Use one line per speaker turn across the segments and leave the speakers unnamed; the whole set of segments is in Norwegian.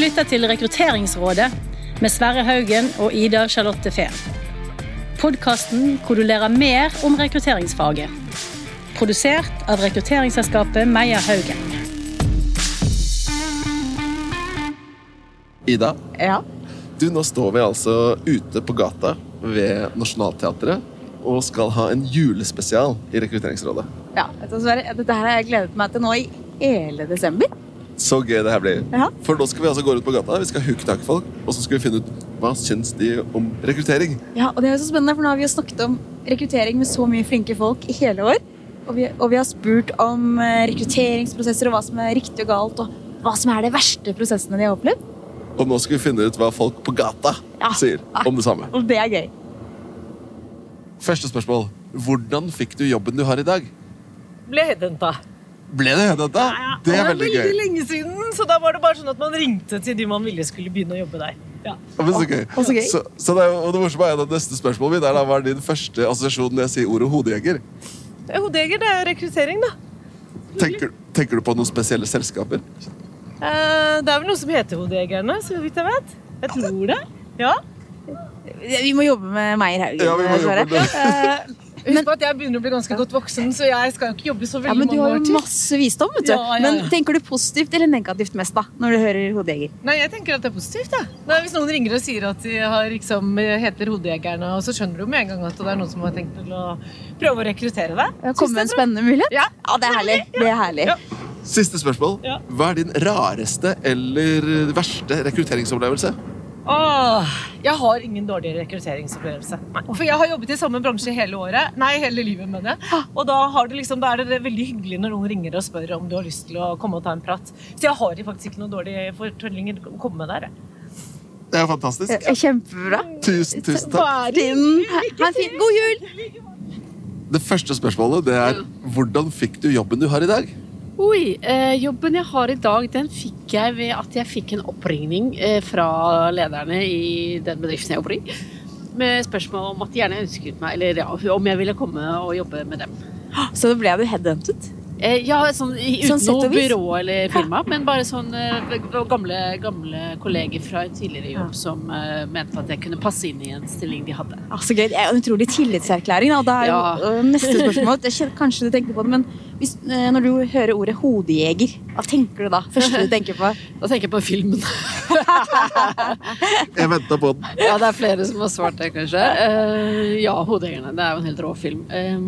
lytter til Rekrutteringsrådet med Sverre Haugen og Ida Charlotte Fehn. Podkasten hvor du lærer mer om rekrutteringsfaget. Produsert av rekrutteringsselskapet Meyer Haugen.
Ida,
Ja.
du, nå står vi altså ute på gata ved Nationaltheatret og skal ha en julespesial i Rekrutteringsrådet.
ja. vet du hva, Sverre? Dette her har jeg gledet meg til nå i hele desember.
Så gøy det her blir.
Ja.
For nå skal vi altså gå ut på gata, vi skal hooke tak i folk, og så skal vi finne ut hva syns de om rekruttering.
Ja, og det er jo så spennende, for nå har vi jo snakket om rekruttering med så mye flinke folk i hele år. Og vi, og vi har spurt om eh, rekrutteringsprosesser og hva som er riktig og galt, og hva som er de verste prosessene de har opplevd.
Og nå skal vi finne ut hva folk på gata
Ja.
sier om det samme.
Og det er gøy.
Første spørsmål. Hvordan fikk du jobben du har i dag?
ble headhunta.
Ble det dette? Det er veldig
Det er
gøy.
veldig lenge siden, så da var det bare sånn at man ringte til de man ville skulle begynne å jobbe der. Ja.
Ja, men så gøy.
Å, så gøy.
Så, så det, er jo- og det morsomme er jo at neste spørsmål mitt er da, hva er din første assosiasjon når jeg sier ordet hodejeger?
Hodejeger, det er jo rekruttering, da.
Tenker, tenker du på noen spesielle selskaper?
Eh, Det er vel noe som heter Hodejegerne, så vidt jeg vet. Jeg tror det. Ja.
Vi må jobbe med Meyer Haugen.
Ja, vi må jobbe
Sverre.
med det.
Eh,
Husk på at jeg begynner å bli ganske godt voksen, så jeg skal jo ikke jobbe så
Ja,
veldig
men du
mange år
har jo
til.
masse visdom, vet du.
Ja, ja, ja.
Men tenker du positivt eller negativt mest, da, når du hører hodejeger?
Nei, jeg tenker at det er positivt, jeg. Nei, Hvis noen ringer og sier at de har, liksom, heter Hodejegerne, og så skjønner du med en gang at det er noen som har tenkt til å prøve å rekruttere deg.
Komme med en spennende mulighet?
Ja.
det er herlig. Det er herlig.
Ja.
Siste spørsmål.
Ja.
Hva er din rareste eller verste rekrutteringsopplevelse?
Åh, jeg har ingen dårlig rekrutteringsopplevelse. Nei, for jeg har jobbet i samme bransje hele året. Nei, hele livet, mener jeg.
Ah.
Og da, har det liksom, da er det veldig hyggelig når noen ringer og spør om du har lyst til å komme og ta en prat. Så jeg har faktisk ikke noen dårlige fortellinger å komme med der. jeg.
Det er jo fantastisk.
Eh,
Ja, Kjempebra.
Tusen, tusen takk.
Tiden. Ha en fin God jul!
Det første spørsmålet det er hvordan fikk du jobben du har i dag?
Oi, eh, jobben jeg har i dag, den fikk jeg ved at jeg fikk en oppringning eh, fra lederne i den bedriften jeg jobber i, med spørsmål om at de gjerne ønsket meg, eller ja, om jeg ville komme og jobbe med dem.
Så da ble du headhuntet?
Eh, ja, sånn, i-
Sånn
uten
sett og
noe
vis?
byrå eller firma, men bare sånn eh, gamle, gamle kolleger fra en tidligere jobb som eh, mente at jeg kunne passe inn i en stilling de hadde.
Ah, så gøy. Det er jo en utrolig tillitserklæring. Da. Og da er jo
Ja.
øh, neste spørsmål jeg kjenner, Kanskje du tenkte på det, men hvis, øh, når du hører ordet hodejeger, hva tenker du da? Første du tenker på?
Da tenker jeg på filmen.
Jeg venta på den.
Ja, det er flere som har svart det, kanskje. Eh, ja, 'Hodejegerne'. Det er jo en helt rå film. Eh,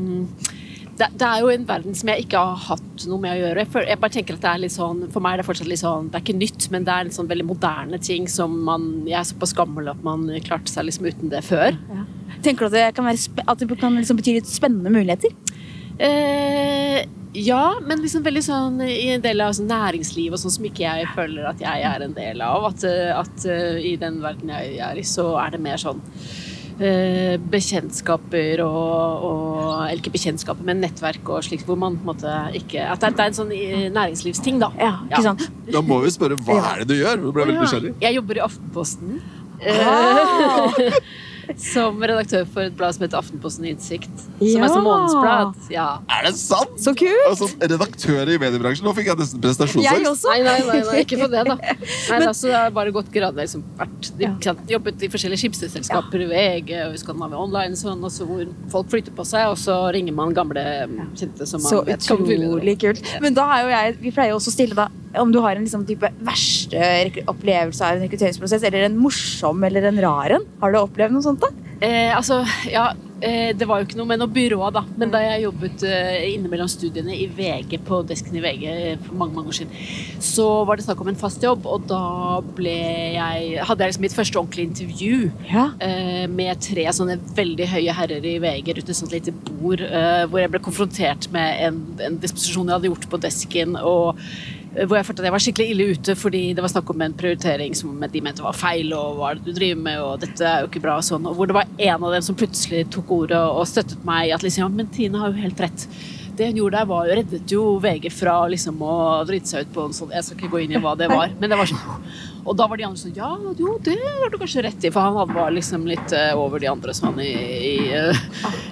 det, det er jo en verden som jeg ikke har hatt noe med å gjøre. For, jeg bare tenker at det er litt sånn, for meg er det fortsatt litt sånn Det er ikke nytt, men det er en sånn veldig moderne ting som man Jeg er såpass gammel at man klarte seg liksom uten det før.
Tenker du at det kan, være spe at det kan liksom bety litt spennende muligheter?
Eh, ja, men liksom veldig sånn i en del av sånn næringsliv og sånn som ikke jeg føler at jeg er en del av. At, eh, at eh, i den verden jeg er i, så er det mer sånn eh, bekjentskaper og, og Eller ikke bekjentskaper, men nettverk og slikt, hvor man på en måte ikke At det er- det er en sånn eh, næringslivsting, da.
Ja, ikke sant?
Da må vi spørre hva er det du gjør? Du ble veldig nysgjerrig.
Jeg jobber i Aftenposten. Eh, som redaktør for et blad som heter Aftenposten Innsikt. Som er
Ja.
som månedsblad. Ja.
Er det sant?!
Så kult!
Altså, redaktør i mediebransjen. Nå fikk jeg nesten
Jeg
prestasjonsangst.
også.
Nei, nei, nei, nei, ikke for det, da. Nei, da så det har bare gått gradvis. Liksom, vært, de,
Ja.
ikke sant, jobbet i forskjellige skipsselskaper, VG og Skandinavia Online, sånn, og så hvor folk flytter på seg, og så ringer man gamle kjente som man
Så
vet kan fylle det.
utrolig kult. Men da er jo jeg, vi pleier jo også å stille da, om du har en liksom type verste rek- opplevelse av en rekrutteringsprosess, eller en morsom eller en rar en. Har du opplevd noe sånt da?
Eh, altså, ja, eh, det var jo ikke noe med noe byrå, da. Men
Mm.
da jeg jobbet eh, innimellom studiene i VG, på desken i VG for mange mange år siden, så var det snakk om en fast jobb, og da ble jeg, hadde jeg liksom mitt første ordentlige intervju.
Ja.
eh, med tre sånne veldig høye herrer i VG rundt et sånt lite bord, eh, hvor jeg ble konfrontert med en, en disposisjon jeg hadde gjort på desken, og eh, hvor jeg følte at jeg var skikkelig ille ute fordi det var snakk om en prioritering som de mente var feil, og hva er det du driver med, og dette er jo ikke bra, og sånn. Og hvor det var en av dem som plutselig tok ordet og støttet meg i at liksom, ja, men Tine har jo helt rett. Det hun gjorde der, var, jo- reddet jo VG fra liksom, å drite seg ut på en sånn Jeg skal ikke gå inn i hva det var, men det var sånn og da var de andre sånn Ja, jo, det har du kanskje rett i. For han var liksom litt eh, over de andre sånn i, i, eh,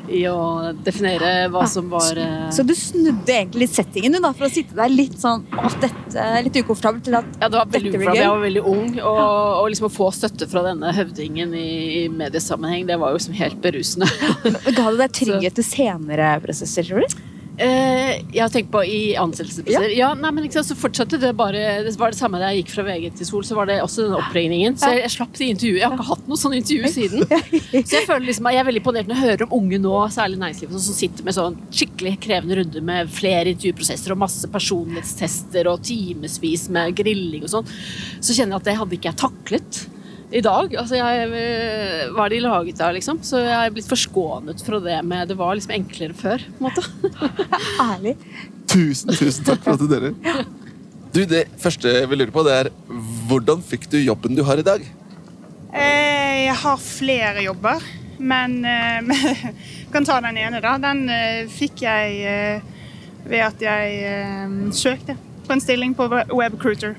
i å definere hva som var eh,
Ah, Så du snudde egentlig litt settingen du da, for å sitte der litt sånn åh, dette er litt ukomfortabelt til at
Ja, det var veldig
Dette blir gøy.
uforståelig.
Ah.
Jeg var veldig ung, og, og liksom å få støtte fra denne høvdingen i, i mediesammenheng, det var jo liksom helt berusende.
Ga det deg trygghet til senere prosesser, tror du?
Eh, jeg har tenkt på i ansettelsesprosesser. Ja. nei, men ikke sant, så fortsatte det bare Det var det samme da jeg gikk fra VG til Sol, så var det også den oppregningen. Så jeg, jeg slapp de intervjuet. Jeg har ikke hatt noe sånn intervju siden. Så jeg føler liksom at jeg er veldig imponert når jeg hører om unge nå, særlig i næringslivet, som sitter med sånn skikkelig krevende runder med flere intervjuprosesser og masse personlighetstester og timevis med grilling og sånn. Så kjenner jeg at det hadde ikke jeg taklet i dag. Altså jeg, eh, hva er de laget av, liksom? Så jeg er blitt forskånet fra det med Det var liksom enklere før, på en måte.
Ærlig.
Tusen, tusen takk for at du deler. Du, Det første jeg vil lure på, det er hvordan fikk du jobben du har i dag?
Eh, Jeg har flere jobber, men eh, kan ta den ene, da. Den eh, fikk jeg eh, ved at jeg eh, søkte på en stilling på Webcruiter.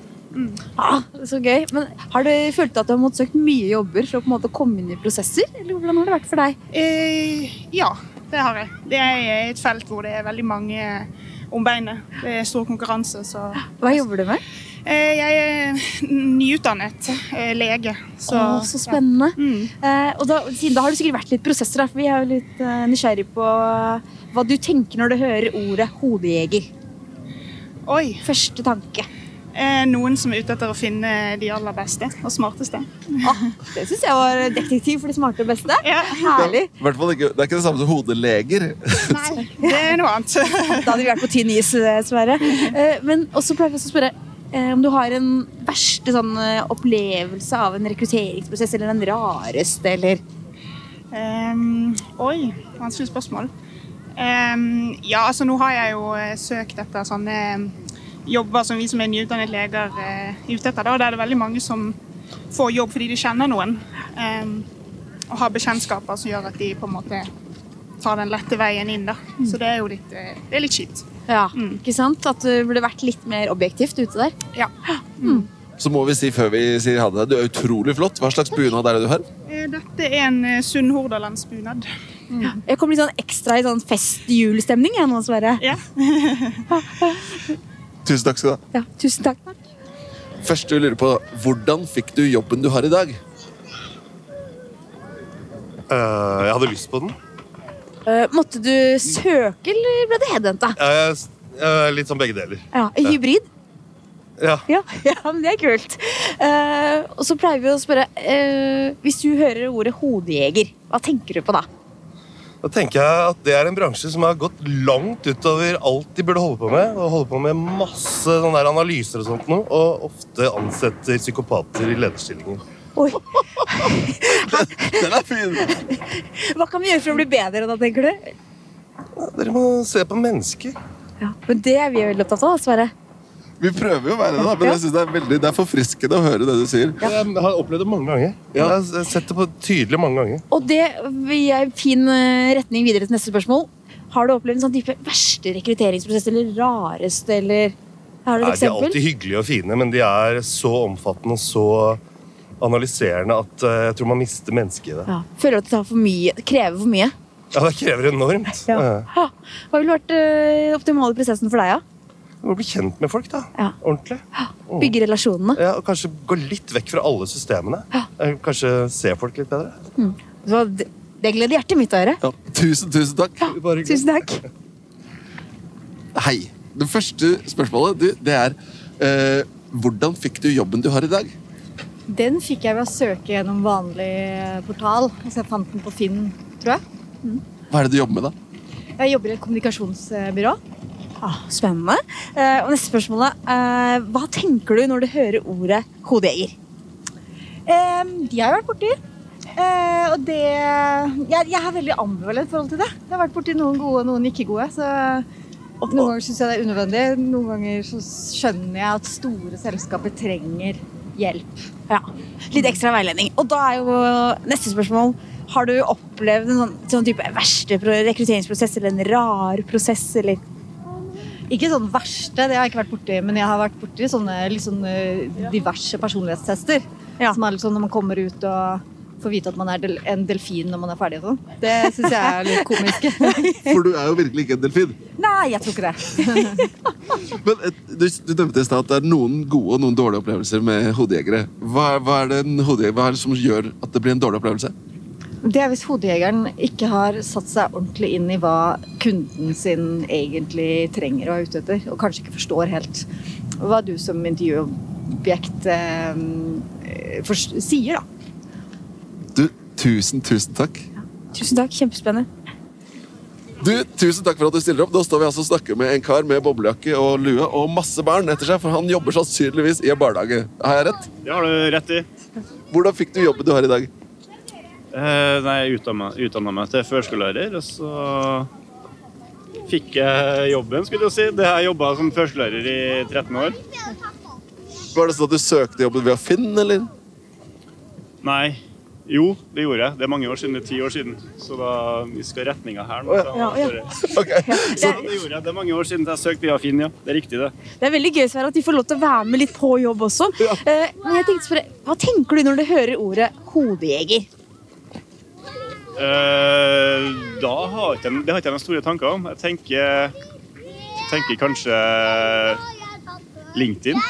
Ah, så gøy. Men har du følt at du har måttet søkt mye jobber for å på en måte komme inn i prosesser? Eller hvordan har det vært for deg?
Eh, Ja, det har jeg. Det er et felt hvor det er veldig mange om beinet. Det er stor konkurranse, så
Hva jobber du med?
Eh, Jeg er nyutdannet eh, lege,
Så,
så
Åh, så spennende.
Ja. Mm.
Eh, og da, siden da har det sikkert vært litt prosesser, da, for vi er jo litt eh, nysgjerrig på hva du tenker når du hører ordet hodejeger.
Oi.
Første tanke.
eh, Noen som er ute etter å finne de aller beste og smarteste.
Ah, det syns jeg var detektiv for de smarte og beste.
Ja.
Herlig.
I hvert fall ikke, det er ikke det samme som hodeleger.
Nei, det er noe annet.
Da hadde vi vært på tynn is, dessverre. Eh, Men også pleier vi også å spørre eh, om du har en verste sånn eh, opplevelse av en rekrutteringsprosess, eller den rareste, eller
Ehm, oi, vanskelig spørsmål. Ehm, ja, altså nå har jeg jo eh, søkt etter sånne eh, jobber som vi som er nyutdannet leger eh, er ute etter. Da. Der er det veldig mange som får jobb fordi de kjenner noen. ehm, og har bekjentskaper som gjør at de på en måte tar den lette veien inn. Da. Så det er jo litt, eh, det er litt kjipt.
Ja,
Mm.
ikke sant? At du burde vært litt mer objektivt ute der.
Ja.
Så må vi si før vi sier ha det, du er utrolig flott. Hva slags bunad er det du har?
Eh, Dette er en eh, Sunnhordlandsbunad.
Jeg kom litt sånn ekstra i sånn festjulestemning jeg nå, Sverre.
Ja.
Tusen takk skal du ha.
Ja, tusen takk.
Først du lurer på, hvordan fikk du jobben du har i dag?
Eh, jeg hadde lyst på den.
Eh, måtte du søke, eller ble det headhenta?
Eh, s- eh, litt sånn begge deler.
Ja, en hybrid?
Ja.
Ja, ja, men det er kult. Eh, og så pleier vi å spørre eh, Hvis du hører ordet hodejeger, hva tenker du på da?
Da tenker jeg at det er en bransje som har gått langt utover alt de burde holde på med. Og holder på med masse sånne der analyser og sånt noe, og ofte ansetter psykopater i lederstillinger.
Oi,
Den er fin!
Hva kan vi gjøre for å bli bedre da, tenker du?
Ja, dere må se på mennesker.
Ja, men det er vi jo veldig opptatt av, Sverre.
Vi prøver jo å være det, da, men jeg synes det er veldig, det er forfriskende å høre det du sier.
Jeg har opplevd det mange ganger. Jeg har sett det på tydelig mange ganger.
Og det er en fin eh, retning videre til neste spørsmål. Har du opplevd en sånn type verste rekrutteringsprosess, eller rareste, eller Har du
Nei,
et
de er
eksempel?
alltid hyggelige og fine, men de er så omfattende og så analyserende at eh, jeg tror man mister mennesket i det.
Ja. Føler du at det tar for mye, krever for mye?
Ja, det krever enormt.
Ja.
Eh,
Ha, hva ville vært eh, optimale prosessen for deg, da?
Du må bli kjent med folk, da.
Ja.
Ordentlig. Mm.
Bygge relasjonene.
Ja, og kanskje gå litt vekk fra alle systemene. Eh, Kanskje se folk litt bedre.
Så det, det gleder hjertet mitt å høre.
Ja, tusen, tusen takk.
Bare hyggelig.
Tusen takk.
Hei. Det første spørsmålet, du, det er eh, hvordan fikk du jobben du har i dag?
Den fikk jeg ved å søke gjennom
eh,
vanlig portal. Altså jeg fant den på Finn, tror jeg.
Hva er det du jobber med, da?
Jeg jobber i et kommunikasjonsbyrå.
Ah, spennende. Eh, og neste spørsmål er eh, hva tenker du når du hører ordet hodejeger?
Eh, de har jeg vært borti. Eh, og det jeg, jeg er veldig ambivalent i forhold til det. Jeg har vært borti noen gode og noen ikke gode. Så noen ganger syns jeg det er unødvendig. Noen ganger så skjønner jeg at store selskaper trenger hjelp.
Ja, litt ekstra veiledning. Og da er jo neste spørsmål Har du opplevd en sånn, sånn type verste pro- rekrutteringsprosess eller en rar prosess? Eller?
Ikke sånn verste, det har jeg ikke vært borti, men jeg har vært borti sånne litt sånn, eh, diverse personlighetstester.
Ja.
Som er litt sånn når man kommer ut og Få vite at man er del en delfin når man er ferdig og sånn. Det syns jeg er litt komisk.
For du er jo virkelig ikke en delfin.
Nei, jeg tror ikke det.
Men eh, du, du nevnte i stad at det er noen gode og noen dårlige opplevelser med hodejegere. Hva, er- hva, er det en hodejeger, hva er det som gjør at det blir en dårlig opplevelse?
Det er hvis hodejegeren ikke har satt seg ordentlig inn i hva kunden sin egentlig trenger og er ute etter, og kanskje ikke forstår helt hva du som intervjuobjekt eh, forst- sier, da.
Du, tusen, tusen takk.
Tusen takk. Kjempespennende.
Du, Tusen takk for at du stiller opp. Nå står vi altså og snakker med en kar med boblejakke og lue og masse barn etter seg, for han jobber sannsynligvis i en barnehage. Har jeg rett?
Det har du rett i.
Hvordan fikk du jobben du har i dag?
Eh, Nei, jeg utdanna utdanna meg til førskolelærer, og så fikk jeg jobben, skulle jeg si. Det har jeg jobba som førskolelærer i 13 år.
Var det sånn at du søkte jobben ved å finne, eller?
Nei. Jo, det gjorde jeg. Det er mange år siden. Det er ti år siden. Så da vi skal retninga her nå. så-
Ja, ja.
Ok.
Så det gjorde jeg. Det er mange år siden jeg søkte via Finn, ja. Det er riktig, det.
Det er veldig gøy Sverre, at de får lov til å være med litt på jobb også. Eh, men jeg tenkte spørre, Hva tenker du når du hører ordet hodejeger?
Eh, da har ikke, jeg- det har ikke jeg noen store tanker om. Jeg tenker, tenker kanskje LinkedIn.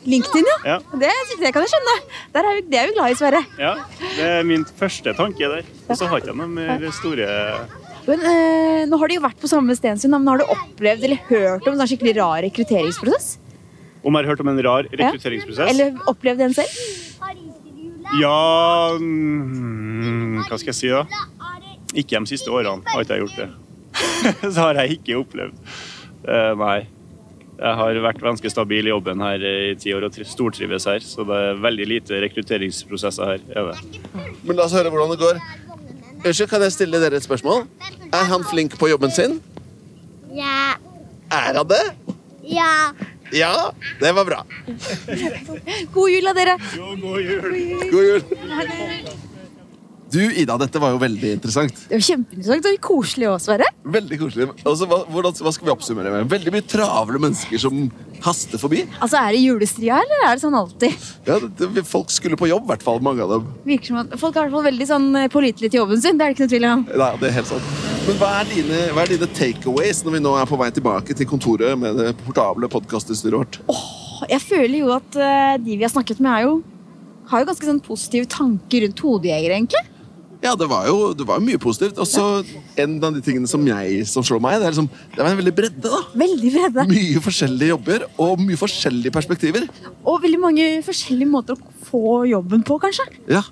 LinkedIn, ja.
Ja.
Det, det kan jeg skjønne. Der er vi, det er vi glad i, Sverre.
ja. Det er min første tanke der. Og så har ikke jeg noen mer store
Men eh, Nå har de jo vært på samme sted en stund, da, men har du opplevd eller hørt om en sånn skikkelig rar rekrutteringsprosess?
Om jeg har hørt om en rar rekrutteringsprosess?
Eller opplevd en selv?
Ja mm, Hva skal jeg si, da? Ikke de siste årene har ikke jeg gjort det. Så har jeg ikke opplevd. Eh, nei. Jeg har vært ganske stabil i jobben her i ti år og tri- stortrives her, så det er veldig lite rekrutteringsprosesser her. Er det.
Men la oss høre hvordan det går. Unnskyld, kan jeg stille dere et spørsmål? Er han flink på jobben sin?
Ja.
Er han det?
Ja.
Ja, det var bra.
God jul, da, dere.
God jul. Du, Ida, dette var jo veldig interessant.
Det var kjempeinteressant og koselig òg, Sverre.
Veldig koselig. Altså, hva, hvordan, hva skal vi oppsummere med? Veldig mye travle mennesker som haster forbi.
Altså, Er det julestria, eller er det sånn alltid?
Ja, det, det, folk skulle på jobb, i hvert fall mange av dem.
Virker som at Folk er i hvert fall veldig sånn eh, pålitelige til jobben sin. Det er det ikke noe tvil om.
Nei, det er helt sant. Men hva er dine, hva er dine takeaways når vi nå er på vei tilbake til kontoret med det portable podkastutstyret vårt?
Jeg føler jo at eh, de vi har snakket med, er jo, har jo ganske sånn positive tanker rundt hodejegere, egentlig.
Ja, det var jo det var jo mye positivt. Og så en av de tingene som, jeg, som slår meg, det er liksom, det var en veldig bredde. da.
Veldig brede.
Mye forskjellige jobber og mye forskjellige perspektiver.
Og veldig mange forskjellige måter å få jobben på, kanskje.
Ja,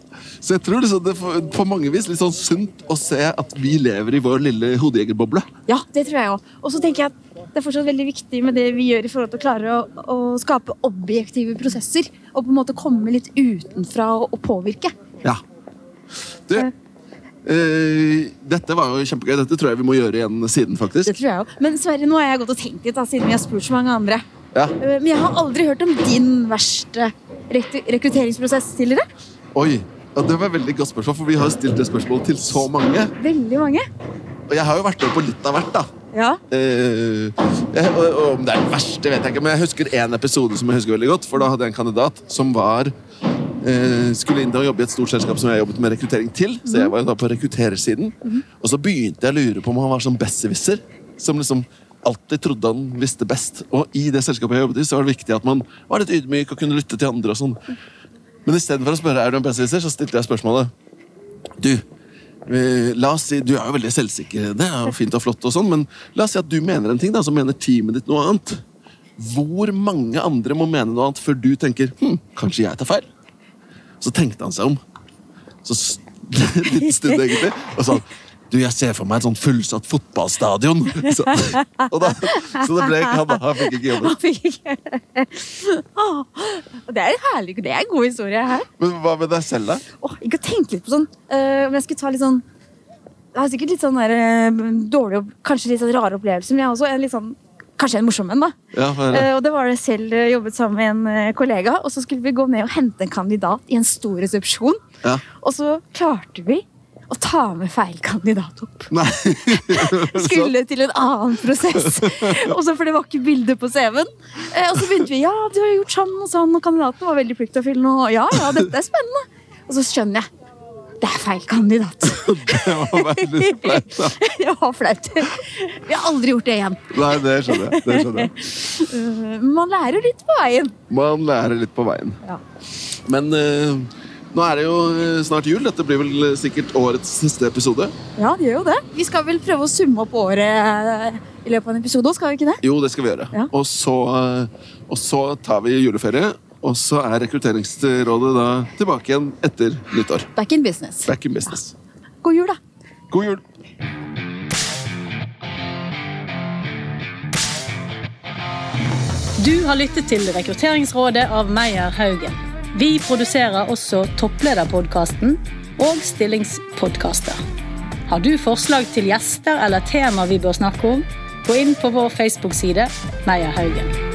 Så jeg tror liksom det er på mange vis litt sånn sunt å se at vi lever i vår lille hodejegerboble.
Ja, det tror jeg òg. Og så tenker jeg at det er fortsatt veldig viktig med det vi gjør i forhold til å klare å, å skape objektive prosesser. Og på en måte komme litt utenfra og, og påvirke.
Ja. Du, eh, dette var jo kjempegøy. Dette tror jeg vi må gjøre igjen siden, faktisk.
Det tror jeg også. Men Sverre, nå har jeg gått og tenkt litt, da, siden vi har spurt så mange andre.
Ja.
Eh, Men jeg har aldri hørt om din verste rekru- rekrutteringsprosess tidligere.
Oi, ja, det var et veldig godt spørsmål, for vi har jo stilt det spørsmålet til så mange.
Veldig mange.
Og jeg har jo vært med på litt av hvert, da.
Ja.
Eh, jeg, og, og Om det er den verste, vet jeg ikke, men jeg husker én episode som jeg husker veldig godt. For da hadde jeg en kandidat som var eh, skulle inn og jobbe i et stort selskap som jeg jobbet med rekruttering til. Så jeg var jo da på rekruttersiden. Og så begynte jeg å lure på om han var sånn besserwisser. Som liksom alltid trodde han visste best. Og i det selskapet jeg jobbet i, så var det viktig at man var litt ydmyk og kunne lytte til andre og sånn. Men istedenfor å spørre er du en besserwisser, så stilte jeg spørsmålet Du, eh, la oss si, du er jo veldig selvsikker, det er jo fint og flott, og sånn, men la oss si at du mener en ting, da, så mener teamet ditt noe annet. Hvor mange andre må mene noe annet før du tenker hm, kanskje jeg tar feil? Så tenkte han seg om. Så s- litt stund, egentlig. Og sa du, jeg ser for meg et sånn fullsatt fotballstadion. Så, og da, så det ble ikke han, da. Han fikk ikke jobben.
Han fikk ikke Åh, og Det er en herlig, det er en god historie her.
Men hva med deg selv, da?
Åh, jeg kan tenke litt på sånn eh, Om jeg skulle ta litt sånn Jeg har sikkert litt sånn der, eh, dårlig opp- Kanskje litt sånn rare opplevelser, men jeg har også en litt sånn Kanskje en morsom en, da.
Ja, hva er det?
Eh, og det var det selv eh, jobbet sammen med en eh, kollega, og så skulle vi gå ned og hente en kandidat i en stor resepsjon.
Ja.
Og så klarte vi å ta med feil kandidat opp.
Nei. Så-
Skulle til en annen prosess. Og så, for det var ikke bilde på CV-en. Eh, og så begynte vi ja, du har gjort sånn og sånn, og kandidaten var veldig pliktoppfyllende. Og ja, ja, dette er spennende. Og så skjønner jeg. Det er feil kandidat.
Det må være litt flaut, da.
Det var flaut. Vi har aldri gjort det igjen.
Nei, det skjønner jeg. Det skjønner jeg.
Eh, Man lærer litt på veien.
Man lærer litt på veien. Men eh, nå er det jo eh, snart jul. Dette blir vel eh, sikkert årets siste episode.
Ja, det gjør jo det. Vi skal vel prøve å summe opp året eh, i løpet av en episode, skal vi ikke det?
Jo, det skal vi gjøre.
Ja.
Og, så, eh, og så tar vi juleferie. Og så er Rekrutteringsrådet da tilbake igjen etter nyttår.
Back in business.
Back in business.
God jul, da.
God jul!
Du har lyttet til Rekrutteringsrådet av Meyer Haugen. Vi produserer også Topplederpodkasten og Stillingspodkaster. Har du forslag til gjester eller tema vi bør snakke om, gå inn på vår Facebook-side Meyer Haugen.